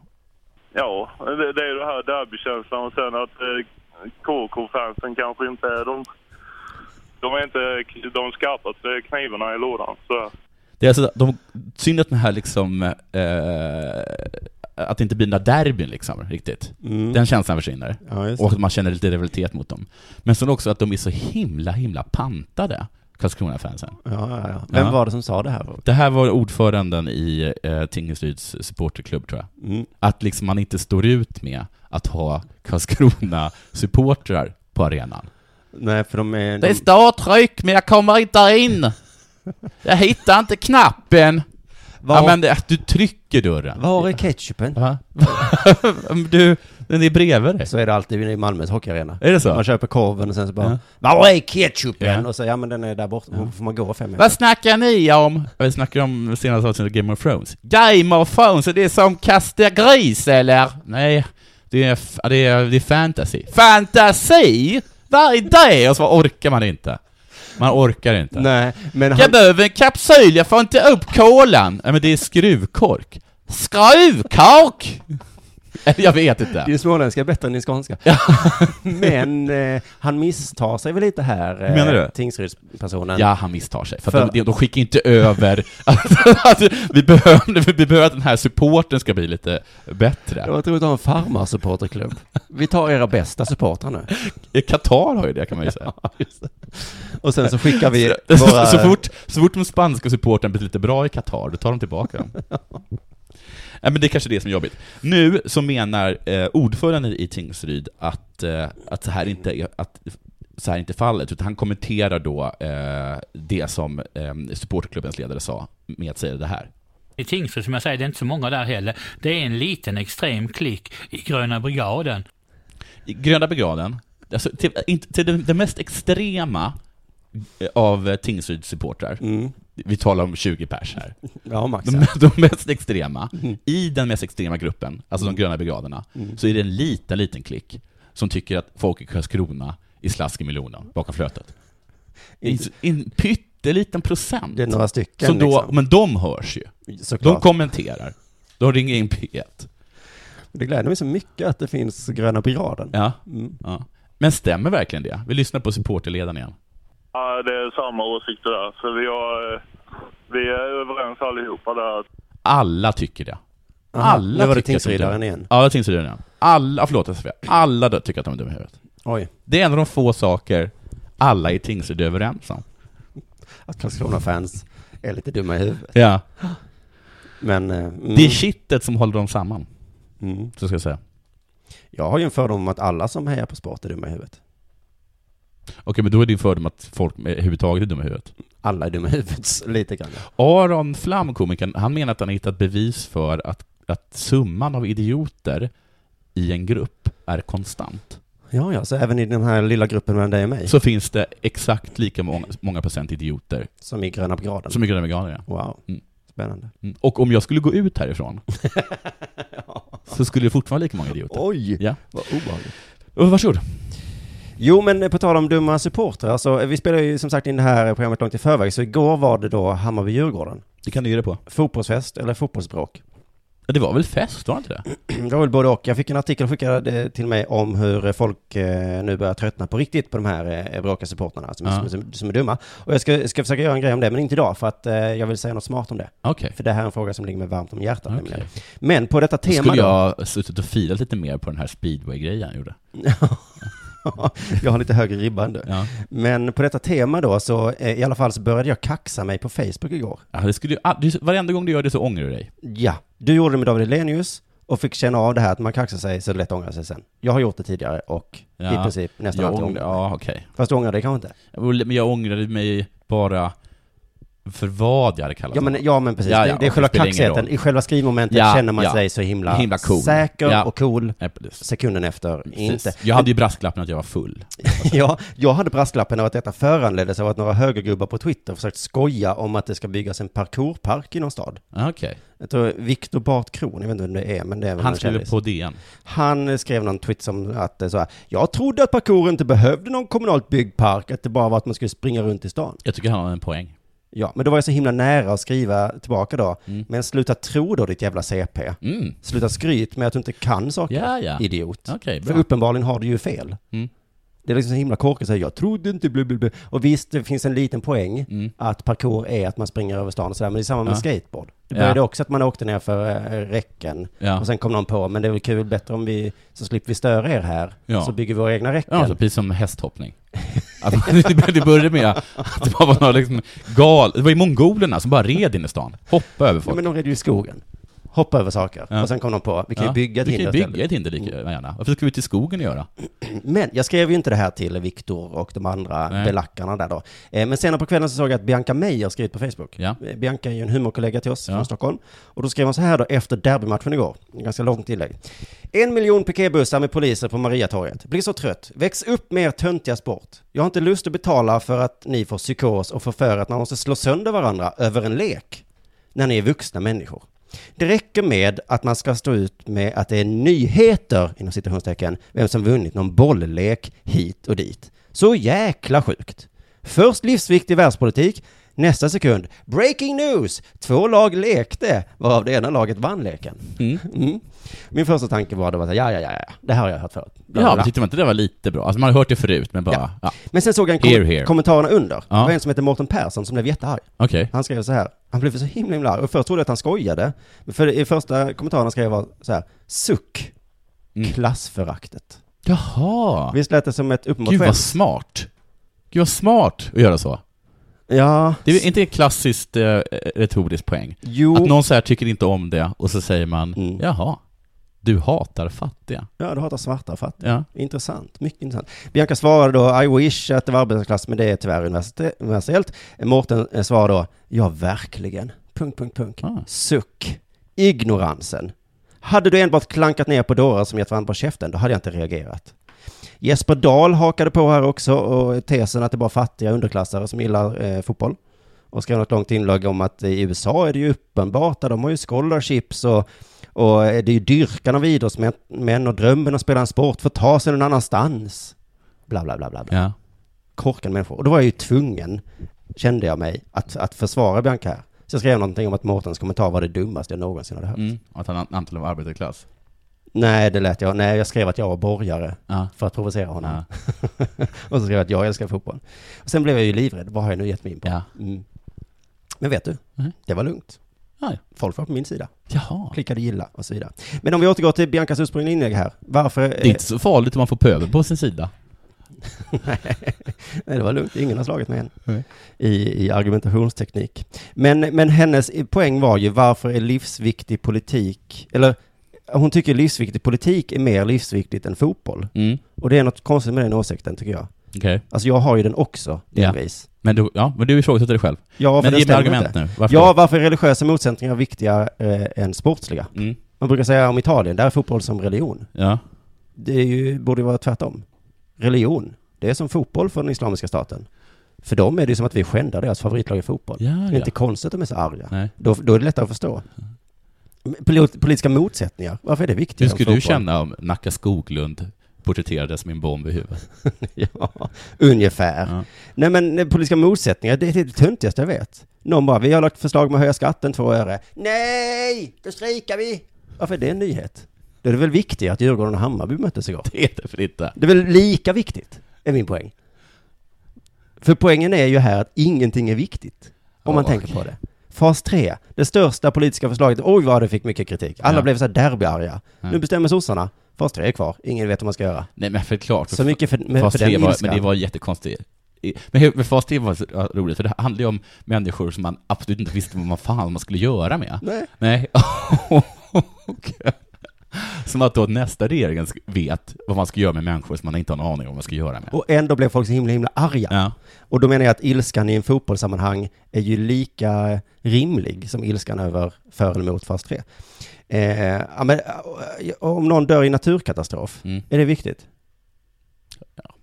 Ja, det, det är ju det här derbykänslan och sen att eh, KK-fansen kanske inte är de... De är inte de skarpaste knivarna i lådan. Så. Det är alltså, de, synd att den här liksom, eh, att det inte blir några derbyn liksom, riktigt. Mm. Den känslan försvinner. Ja, just det. Och att man känner lite rivalitet mot dem. Men sen också att de är så himla, himla pantade, Karlskrona-fansen. Ja, ja, ja. Vem Ja. var det som sa det här? Det här var ordföranden i eh, Tingsryds supporterklubb tror jag. Mm. att liksom man inte står ut med att ha Karlskrona-supportrar på arenan. Nej, för de är... Det De, står tryck, men jag kommer inte in! Jag hittar inte knappen! var, Ja, men det, att du trycker dörren. var är ketchupen? Va? Men du, den är bredvid dig. Så är det alltid i Malmös hockeyarena. Är det Man så? köper korven och sen så bara... Var är ketchupen? Och så, ja men den är där borta. Får man gå fem meter? Vad snackar ni om? Vi snackar om senaste avsnittet av Game of Thrones. Game of Thrones, är det som kasta gris eller? Nej, det är, f- det är, det är fantasy. Fantasi? Vad är det? Och så orkar man inte. Man orkar inte. Nej, men Jag han... behöver en kapsyl, jag får inte upp kolan! Nej men det är skruvkork. Skruvkork! Eller, jag vet Din inte. småländska är bättre än din skånska. men eh, han misstar sig väl lite här, eh, Menar du? Tingsrydspersonen. Ja, han misstar sig. För, att För- De, de skickar inte över... att, att vi, behöver, vi behöver att den här supporten ska bli lite bättre. Jag tror att ha en farmarsupporterklubb. Vi tar era bästa supportrar nu. Qatar har ju det kan man ju säga. Och sen så skickar vi Så, våra... så, fort, så fort de spanska supporten blir lite bra i Qatar, då tar de tillbaka dem. Nej, men det är kanske det som är jobbigt. Nu så menar eh, ordföranden i Tingsryd att, eh, att, så här inte är, att så här inte är fallet, utan han kommenterar då eh, det som eh, supportklubbens ledare sa med att säga det här. I Tingsryd, som jag säger, det är inte så många där heller. Det är en liten extrem klick i Gröna Brigaden. I Gröna brigaden, alltså till, inte- till den, den mest extrema eh, av eh, Tingsryds supportrar, Mm. vi talar om 20 pers här, Ja, Max. de, de mest extrema, Mm. i den mest extrema gruppen, alltså de gröna brigaderna, så är det en liten, liten klick som tycker att folk i Karlskrona är slask i melonen bakom flötet. En, en pytteliten procent. Det är några stycken. Så då, liksom. Men de hörs ju. Såklart. De kommenterar. De ringer in P1. Det gläder mig så mycket att det finns gröna piraden. Ja. Mm. ja. Men stämmer verkligen det? Vi lyssnar på supporterledaren igen. Ja, det är samma åsikter där. Så vi, har, eh, vi är överens allihopa där. Alla tycker det. Aha, Alla nu var det tycker att de är tingsriddaren dumma. igen. Ja, det var tingsriddaren igen. Alla, förlåt jag svär. Alla dö- tycker att de är dumma i huvudet. Oj, Det är en av de få saker alla i Tingsryd är överens om. att Karlskrona-fans är lite dumma i huvudet. Ja. Men eh, mm, Det är kittet som håller dem samman, mm. så ska jag säga. jag har ju en fördom om att alla som hejar på sport är dumma i huvudet. Okej, men då är din fördom att folk med- överhuvudtaget är dumma i huvudet. Alla är dumma i huvudet, lite grann. Aron Flam, komikern, han menar att han har hittat bevis för att, att summan av idioter i en grupp är konstant. Ja, ja, så även i den här lilla gruppen mellan dig och mig, Så finns det exakt lika många, många procent idioter som i gröna piraden. som är gröna ja. Wow, Mm. spännande. Mm. Och om jag skulle gå ut härifrån så skulle det fortfarande vara lika många idioter. Oj, Ja. vad obehagligt. Och Varsågod. Jo, men eh, på tal om dumma supportrar, så eh, vi spelar ju som sagt in det här programmet långt i förväg, så igår var det då Hammarby-Djurgården. Det kan du ge dig på. Fotbollsfest, eller fotbollsbråk. Ja, Det var väl fest, var det inte det? Det var väl både och. Jag fick en artikel skickad eh, till mig om hur folk eh, nu börjar tröttna på riktigt på de här eh, bråkiga supportrarna som, Ja. som, som, som är dumma. Och jag ska, ska försöka göra en grej om det, men inte idag för att eh, jag vill säga något smart om det. Okej. För det här är en fråga som ligger mig varmt om hjärtat. Okej. nämligen. Men på detta Då tema skulle då. jag suttit och filat lite mer på den här speedway-grejen jag gjorde. jag har lite högre ribba än du. Ja. Men på detta tema då så eh, i alla fall så började jag kaxa mig på Facebook igår. Ja, det skulle ju, ah, du, varenda gång du gör det så ångrar du dig. Ja, du gjorde det med David Hellenius och fick känna av det här att man kaxar sig så är det lätt att ångra sig sen. Jag har gjort det tidigare och Ja. i princip nästan jag alltid ångrar, ångrar mig. Ja, okej. Fast du ångrar dig kanske inte? Jag ville- Men jag ångrade mig bara för vad jag hade kallat Ja det. men, ja, men precis, Ja, ja, det, det är och själva det spelar ingen kaxigheten. roll. I själva skrivmomentet Ja, känner man ja. sig så himla, Himla cool. säker Ja. och cool. Nej, precis. Sekunden efter, inte. Jag hade ju brasklappen att jag var full. ja, jag hade brasklappen av att detta föranleddes av att några högergubbar på Twitter försökt skoja om att det ska byggas en parkourpark i någon stad. Ja, Ah, Okej. Jag tror Viktor Bart Kron, jag vet inte vem det är, men det är väl Han någon skriver kändis. på DN. Han skrev någon tweet som att eh, så här, jag trodde att parkour inte behövde någon kommunalt byggd park, att det bara var att man skulle springa runt i stan. Jag tycker han har en poäng. Ja, men då var jag så himla nära att skriva tillbaka då, Mm. men sluta tro då ditt jävla CP. Mm. Sluta skryt med att du inte kan saker, Ja, ja. idiot. Okej, För bra. uppenbarligen har du ju fel. Mm. Det är liksom så himla korkat, säger jag trodde inte blu, blu, blu. Och visst, det finns en liten poäng Mm. att parkour är att man springer över stan och sådär, men det är samma med Ja. skateboard. Det Ja. började också att man åkte ner för eh, räcken Ja. och sen kom någon på, men det är väl kul, bättre om vi, så slipper vi störa er här, Ja. så bygger vi våra egna räcken. Ja, så precis som hästhoppning. Att det började- det började med att det bara var några liksom gal... Det var ju mongolerna som bara red in i stan. Hoppa över Ja, folk. men de red ju i skogen. Hoppa över saker. Ja. Och sen kom de på, vi kan Ja, ju bygga ett Mm. vi kan hinder ju bygga istället. ett hinder lika gärna. Varför ska vi ut i skogen och göra? Men jag skrev ju inte det här till Viktor och de andra Nej. belackarna där då. Eh, Men senare på kvällen så såg jag att Bianca Meijer skrivit på Facebook. Ja. Eh, Bianca är ju en humorkollega till oss Ja. från Stockholm. Och då skrev hon så här då efter derbymatchen igår. En Ganska långt tillägg. En miljon piketbussar med poliser på Mariatorget. Blir så trött. Väx upp med er töntiga sport. Jag har inte lust att betala för att ni får psykos och förför att man måste slå sönder varandra över en lek. När ni är vuxna människor. Det räcker med att man ska stå ut med att det är nyheter, inom citationstecken, vem som vunnit någon bolllek hit och dit. Så jäkla sjukt. Först livsviktig världspolitik, nästa sekund, breaking news! Två lag lekte, varav det ena laget vann leken. Mm. Min första tanke var då att, ja, ja, ja, ja, det här har jag hört förut. Bla, bla, Ja, bla. men tyckte man inte det var lite bra? Alltså man har hört det förut, men bara... Ja. Ja. Men sen såg jag en kom- Here, here. kommentarerna under. Ja. Det var en som hette Mårten Persson som blev jättearg. Okej. Han skrev så här, han blev så himla himla arg. Och först trodde jag att han skojade. Men för i första kommentaren han skrev var så här, suck, Mm. klassföraktet. Jaha! Visst lät det som ett uppenbart Gud vad skämt? smart! Gud vad smart att göra så. Ja, Det är inte ett klassiskt eh, retoriskt poäng. Att jo. någon så här tycker inte om det, och så säger man Mm. ”Jaha, du hatar fattiga”. Ja, du hatar svarta för att Ja. Intressant, mycket intressant. Bianca svarade då, I wish att det var arbetarklass, men det är tyvärr universite- universellt. Mårten eh, svarade då, ja verkligen. Punkt, punkt, punkt. Ah. Suck. Ignoransen. Hade du enbart klankat ner på dårar som gett varandra på käften, då hade jag inte reagerat. Jesper Dahl hakade på här också, och tesen att det bara är fattiga underklassare som gillar eh, fotboll. Och skrev något långt inlägg om att i USA är det ju uppenbart, där de har ju scholarships och och det är ju dyrkan av idrottsmän och drömmen att spela en sport för att ta sig någon annanstans. Bla, bla, bla, bla. bla. Ja. korkade människor. Och då var jag ju tvungen, kände jag mig, att, att försvara Bianca här. Så jag skrev någonting om att Mårtens kommentar var det dummaste jag någonsin hade hört. Mm. Att han antagligen var arbetarklass. Nej, det lät jag. Nej, jag skrev att jag var borgare Ja. för att provocera honom. och så skrev jag att jag älskar fotboll. Och sen blev jag ju livrädd. Vad har jag nu gett mig in på? Ja. Mm. Men vet du? Nej. Det var lugnt. Ja, ja. Folk var på min sida. Jaha. Klickade gilla och så vidare. Men om vi återgår till Biancas ursprungliga inlägg här. Varför? Det är inte så farligt om man får pöbel på sin sida. Nej, det var lugnt. Ingen har slagit mig än. Nej. I, I argumentationsteknik. Men, men hennes poäng var ju varför är livsviktig politik, eller hon tycker livsviktig politik är mer livsviktigt än fotboll. Mm. Och det är något konstigt med den åsikten tycker jag. Okej. Alltså jag har ju den också, Ja. delvis. Men du, ja, men du ifrågasätter dig själv. Ja, för den men ge mig stämmer argument inte. nu. Varför? Ja, varför är religiösa motsättningar viktigare eh, än sportsliga? Mm. Man brukar säga om Italien, där är fotboll som religion. Ja. Det är ju, borde ju vara tvärtom. Religion, det är som fotboll för den islamiska staten. För dem är det ju som att vi skändar deras favoritlag i fotboll. Ja, Det är ja. inte konstigt att de är så arga. Nej. Då, då är det lättare att förstå. Poli- Politiska motsättningar, varför är det viktigt? Hur skulle du känna om Nacka Skoglund porträtterades med en bomb i huvudet? ja, ungefär. Ja. Nej men eh, politiska motsättningar, det är det töntigaste jag vet. Någon bara, vi har lagt förslag om att höja skatten två öre. Nej, då strejkar vi. Varför är det en nyhet? Då är det väl viktigt att Djurgården och Hammarby möttes igår? Det är det för inte. Det är väl lika viktigt, är min poäng. För poängen är ju här att ingenting är viktigt, om man Ja, tänker på det. Fas 3, det största politiska förslaget, oj vad det fick mycket kritik. Alla Ja. blev så här derbyarga. Ja. Nu bestämmer sossarna, fas 3 är kvar, ingen vet vad man ska göra. Nej men förklart. Så mycket för, med, fas för den 3 var, ilskan. men det var jättekonstigt. I- Men hur- men fas 3 var så ja, roligt, för det handlade ju om människor som man absolut inte visste vad man fan man skulle göra med. Nej. Nej. Och- som att då nästa regering sk- vet vad man ska göra med människor som man inte har en aning om vad man ska göra med. Och ändå blev folk så himla, himla arga. Ja. Och då menar jag att ilskan i en fotbollssammanhang är ju lika rimlig som ilskan över för eller mot fas 3. Eh, ja, men, eh, om någon dör i naturkatastrof, Mm. är det viktigt?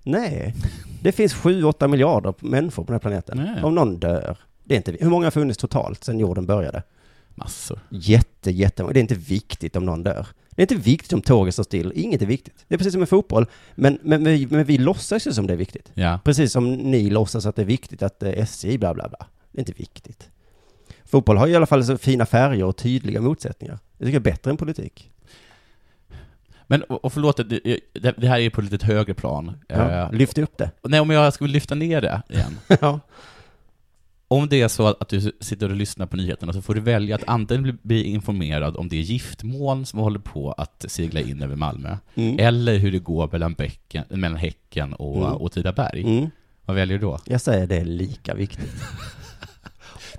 Nej, det finns 7-8 miljarder människor på den här planeten. Nej. Om någon dör, det är inte, hur många har funnits totalt sedan jorden började? Massor. Jätte, jättemånga. Det är inte viktigt om någon dör. Det är inte viktigt om tåget står still. Inget är viktigt. Det är precis som med fotboll. Men, men, men, vi, men vi låtsas ju som det är viktigt. Ja. Precis som ni låtsas att det är viktigt att eh, SJ bla bla bla. Det är inte viktigt. Fotboll har ju i alla fall så fina färger och tydliga motsättningar. Det tycker jag är bättre än politik. Men, och och förlåt, det, det det här är på ett lite högre plan. Ja. Eh, Lyft upp det. nej, om jag skulle lyfta ner det igen. ja. Om det är så att, att du sitter och lyssnar på nyheterna så får du välja att antingen bli, bli informerad om det giftmoln som håller på att segla in över Malmö, Mm. eller hur det går mellan, bäcken, mellan Häcken och Mm. och Åtvidaberg. Mm. Vad väljer du då? Jag säger det är lika viktigt.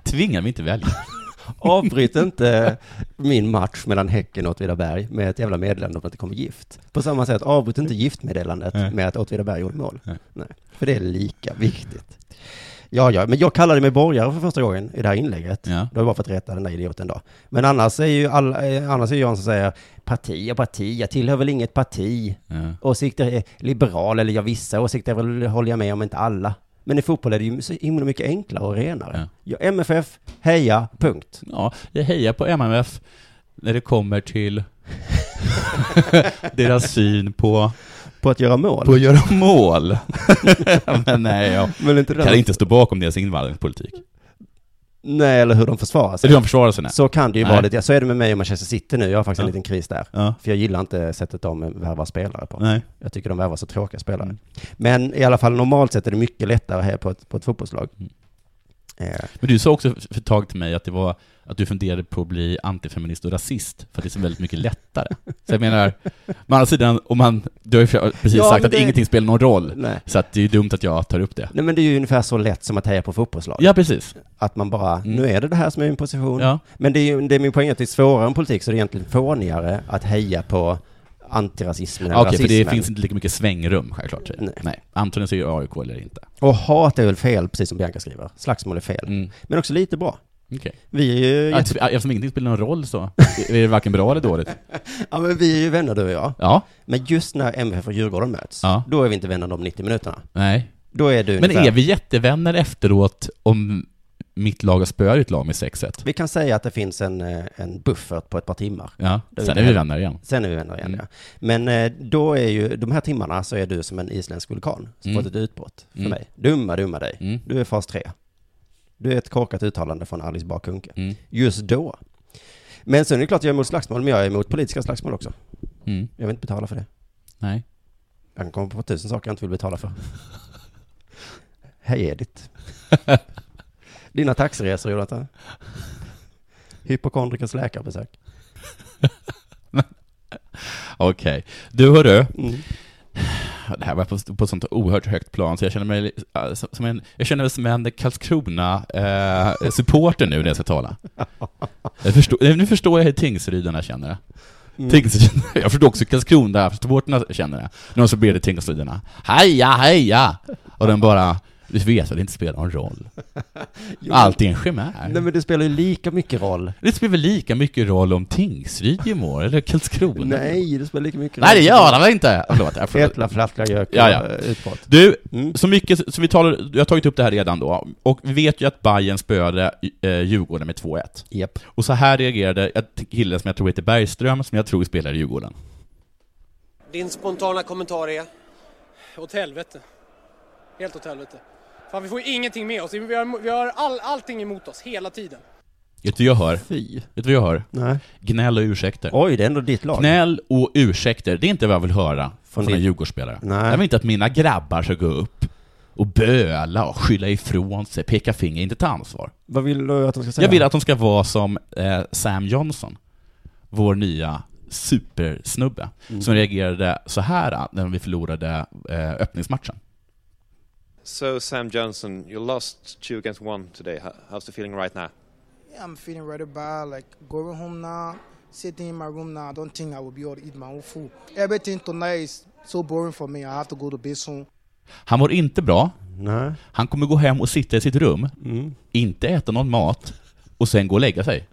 Tvinga mig inte välja. Avbryt inte min match mellan Häcken och Åtvidaberg med ett jävla meddelande om att det kommer gift. På samma sätt, avbryt inte giftmeddelandet Nej. med att Åtvidaberg gjorde mål. Nej. Nej. För det är lika viktigt. Ja, ja, men jag kallade mig borgare för första gången i det här inlägget. Ja. Då har jag bara fått rätta den där idioten då. Men annars är ju alla, eh, annars är ju jag som säger parti och parti, jag tillhör väl inget parti. Ja. Åsikter är liberal, eller jag vissa åsikter väl håller jag med om, inte alla. Men i fotboll är det ju så himla mycket enklare och renare. Ja. MFF, heja, punkt. Ja, jag hejar på MMF när det kommer till deras syn på, På att göra mål. på att göra mål. Men nej, jag Men inte det kan inte stå bakom deras invandringspolitik. Nej, eller hur de försvarar sig. Eller de försvarar sig. nej. Så kan det ju Nej. vara lite, ja, så är det med mig och Manchester City nu, jag har faktiskt en Ja. liten kris där. Ja. För jag gillar inte sättet de värvar spelare på. Nej. Jag tycker de värvar så tråkiga spelare. Mm. Men i alla fall normalt sett är det mycket lättare att heja på ett, på ett fotbollslag. Mm. Eh, Men du sa också för ett tag till mig att, det var, att du funderade på att bli antifeminist och rasist, för att det är så väldigt mycket lättare. Så jag menar, å andra sidan, om man, du har ju precis Ja, sagt men att det- ingenting spelar någon roll, nej. så att det är dumt att jag tar upp det. nej, men det är ju ungefär så lätt som att heja på fotbollslag. Ja, precis. Att man bara, nu är det det här som är min position. Ja. Men det är, ju- det är min poäng att det är svårare än politik, så det är egentligen fånigare att heja på antirasismen eller Okej, för det rasismen. finns inte lika mycket svängrum självklart. Nej. Nej. Nej. Antingen så är det AIK eller inte. Och hat är väl fel, precis som Bianca skriver. Slagsmål är fel. Mm. Men också lite bra. Okej. Vi är ju, Att- Eftersom ingenting spelar någon roll så är det varken bra eller dåligt. ja, men vi är ju vänner du och jag. Ja, Men just när MFF och Djurgården möts, Ja. då är vi inte vänner de 90 minuterna. nej. Då är du Men ungefär- är vi jättevänner efteråt om mitt lag har spöat ditt lag med 6-1. Vi kan säga att det finns en, eh, en buffert på ett par timmar. Ja, Det är sen det. är vi vänner igen. Sen är vi vänner igen, Mm. ja. Men eh, då är ju, de här timmarna så är du som en isländsk vulkan som Mm. fått ett utbrott för Mm. mig. Dumma, dumma dig. Mm. Du är fas 3. Du är ett korkat uttalande från Alice Bakunke. Mm. Just då. Men sen är det klart jag är emot slagsmål, men jag är emot politiska slagsmål också. Mm. Jag vill inte betala för det. Nej. Jag kan komma på tusen saker jag inte vill betala för. Hej Edith. Dina taxiresor Jonathan. Hypokondrikers läkarbesök. Okej. Du hörru, Mm. det här var på, på ett sånt oerhört högt plan så jag känner mig li- äh, som- som en, jag känner mig som en Karlskrona-supporter nu när jag ska tala. Jag förstår, nu förstår jag hur Tingsrydarna känner det. Mm. Tingsrydarna, jag förstår också hur Karlskrona-supporterna känner det. När de så ber till Tingsrydarna. Heja, heja! Och den bara, du vet att det inte spelar någon roll. Allt är en chimär. Nej men det spelar ju lika mycket roll. Det spelar väl lika mycket roll om Tingsryd gör mål, eller Karlskrona? Nej, det spelar lika mycket roll. Nej, det gör det väl inte! Förlåt, jag får- Ätla, flattla, gök Ja, ja. och, eh, utbrott. Du, Mm. så mycket som vi talar, jag har tagit upp det här redan då, och vi vet ju att Bayern spöade eh, Djurgården med 2-1. Japp. Och så här reagerade en kille som jag tror heter Bergström, som jag tror spelar i Djurgården. Din spontana kommentar är? Åt helvete. Helt åt helvete. Fan, vi får ju ingenting med oss. Vi har, vi har all, allting emot oss hela tiden. Vet du vad jag hör? Vet Fy. du vad jag hör? Nej. Gnäll och ursäkter. Oj, det är ändå ditt lag. Gnäll och ursäkter, det är inte vad jag vill höra från, din- en Djurgårdsspelare. Nej. Jag vill inte att mina grabbar ska gå upp och böla och skylla ifrån sig, peka finger, inte ta ansvar. Vad vill du att de ska säga? Jag vill att de ska vara som eh, Sam Johnson, vår nya supersnubbe, Mm. som reagerade så här eh, när vi förlorade eh, öppningsmatchen. So Sam Johnson, you lost two against one today. How- How's the feeling right now? Yeah, I'm feeling rather bad. Like going home now, sitting in my room now. I don't think I will be able to eat my own food. Everything tonight is so boring for me. I have to go to bed soon. Han mår inte bra, Nej. han kommer gå hem och sitta i sitt rum, Mm. inte äta någon mat, och sen gå och lägga sig.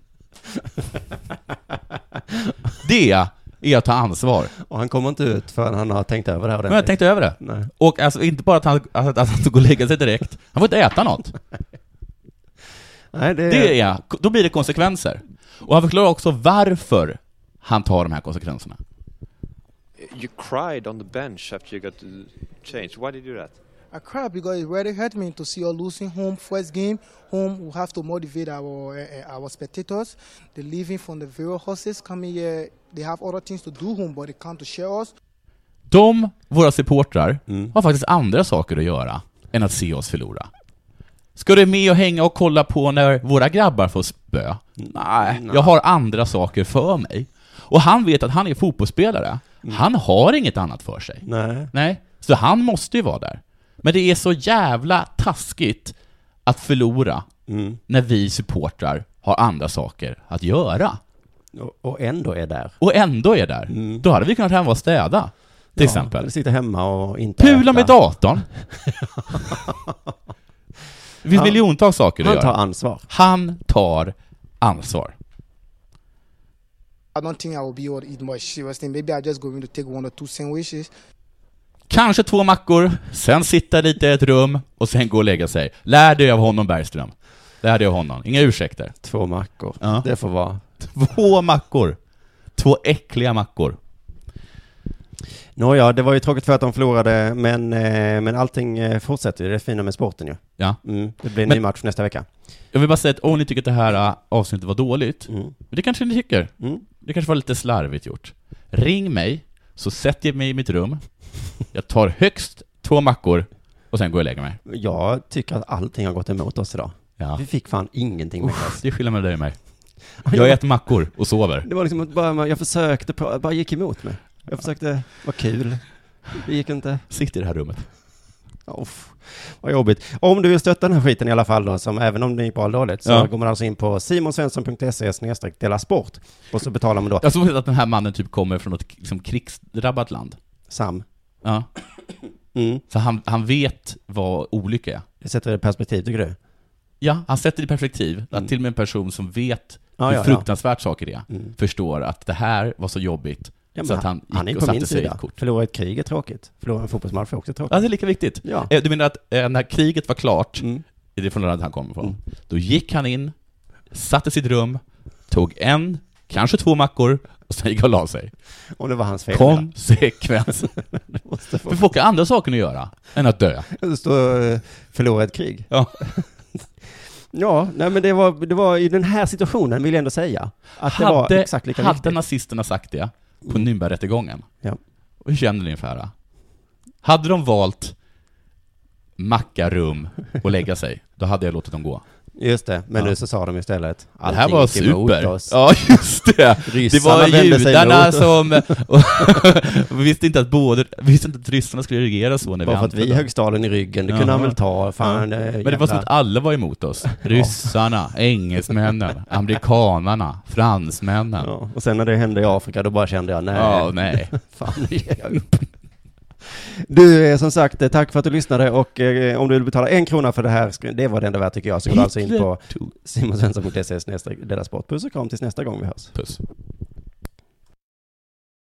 Det är att ta ansvar. Och han kommer inte ut förrän han har tänkt över det här Men jag ordentligt. tänkte över det. Nej. Och alltså inte bara att han, att, att han ska gå och lägga sig direkt, han får inte äta något. Nej, det, Det är, då blir det konsekvenser. Och han förklarar också varför han tar de här konsekvenserna. You cried on the bench after you got changed. Why did you do that? I cry because it really hurt me to see us losing home first game. Home we have to motivate our uh, our spectators. They're leaving from the various houses coming here. They have other things to do home, but they come to share us. De, våra supportrar, har faktiskt andra saker att göra än att se oss förlora. Ska du med och hänga och kolla på när våra grabbar får spö? Nej, jag har andra saker för mig. Och han vet att han är fotbollsspelare. Han har inget annat för sig. Nej. Nej, så han måste ju vara där. Men det är så jävla taskigt att förlora Mm. när vi supportrar har andra saker att göra. Och, och ändå är där. Och ändå är där. Mm. Då hade vi kunnat hemma och städa, till exempel. Eller sitter hemma och inte Pula äta. med datorn. det finns Han- miljontals saker att Han tar göra. ansvar. Han tar ansvar. I don't think I will be able to eat much. Seriously, maybe I'm just going to take one or two sandwiches. Kanske två mackor, sen sitta lite i ett rum och sen gå och lägga sig. Lär dig av honom Bergström. Lär dig av honom. Inga ursäkter. Två mackor. Ja. Det får vara. Två mackor. Två äckliga mackor. Nåja, det var ju tråkigt för att de förlorade, men, eh, men allting eh, fortsätter ju. Det är fina med sporten ju. Ja. Mm. Det blir en Men- ny match nästa vecka. Jag vill bara säga att om ni tycker att det här äh, avsnittet var dåligt, Mm. men det kanske ni tycker. Mm. Det kanske var lite slarvigt gjort. Ring mig, så sätter jag mig i mitt rum. Jag tar högst två mackor och sen går jag och lägger mig. Jag tycker att allting har gått emot oss idag. Ja. Vi fick fan ingenting med oss. Det är skillnad mellan dig och mig. Jag äter mackor och sover. Det var liksom att bara, jag försökte, pra- bara gick emot mig. Jag försökte vara kul. Det gick inte. Sitt i det här rummet. Uff, vad jobbigt. Om du vill stötta den här skiten i alla fall då, som även om det gick bra eller dåligt, så Ja. går man alltså in på simonsvensson.se snedstreck dela sport. Och så betalar man då. Jag såg att den här mannen typ kommer från något liksom, krigsdrabbat land. Sam. Ja. Mm. Så han, han vet vad olycka är. Det sätter det i perspektiv, tycker du? Ja, han sätter det i perspektiv. Att Mm. till och med en person som vet Ja, hur ja, ja. fruktansvärt saker är, Mm. förstår att det här var så jobbigt Ja, men så att han gick är och på satte min sig i sida. ett kort. Förlora ett krig är tråkigt. Förlora en fotbollsmatch är också tråkigt. Ja, det är lika viktigt. Ja. Eh, Du menar att eh, när kriget var klart, Mm. det är från det landet han kommer ifrån. Då gick han in, satte sitt rum, tog en, kanske två mackor, och sen gick han och la sig. Om det var hans fel. Konsekvens. För folk har andra saker att göra än att dö. Det står eh, förlora ett krig. Ja. ja, nej men det var, det var i den här situationen vill jag ändå säga. Att det var hade, exakt lika hade viktigt. nazisterna sagt det på Nürnbergrättegången, Ja. hur känner ni ungefär? då? Hade de valt macka, rum och lägga sig, då hade jag låtit dem gå. Just det, men Ja. nu så sa de istället. Ja, det här "Allting var gick emot super. oss." Ja, just det. Det Ryssarna var vände sig judarna emot oss. som... vi visste inte att både... Vi visste inte att ryssarna skulle reagera så när Bara vi för att vi anföll dem. högg staden i ryggen, det kunde han Jaha. väl ta, fan. Ja. eh, Men det var jävla- som att alla var emot oss. Ryssarna, engelsmännen, amerikanarna, fransmännen. Ja, Ja. Och sen när det hände i Afrika, då bara kände jag nej. nej. Fan, nu ger jag upp. Du, eh, som sagt, eh, tack för att du lyssnade och eh, om du vill betala en krona för det här, sk- det var det enda värt E tycker jag, så går du alltså in på simonsvensson.se snedstreck deras sport. Puss och kram tills nästa gång vi hörs. Puss.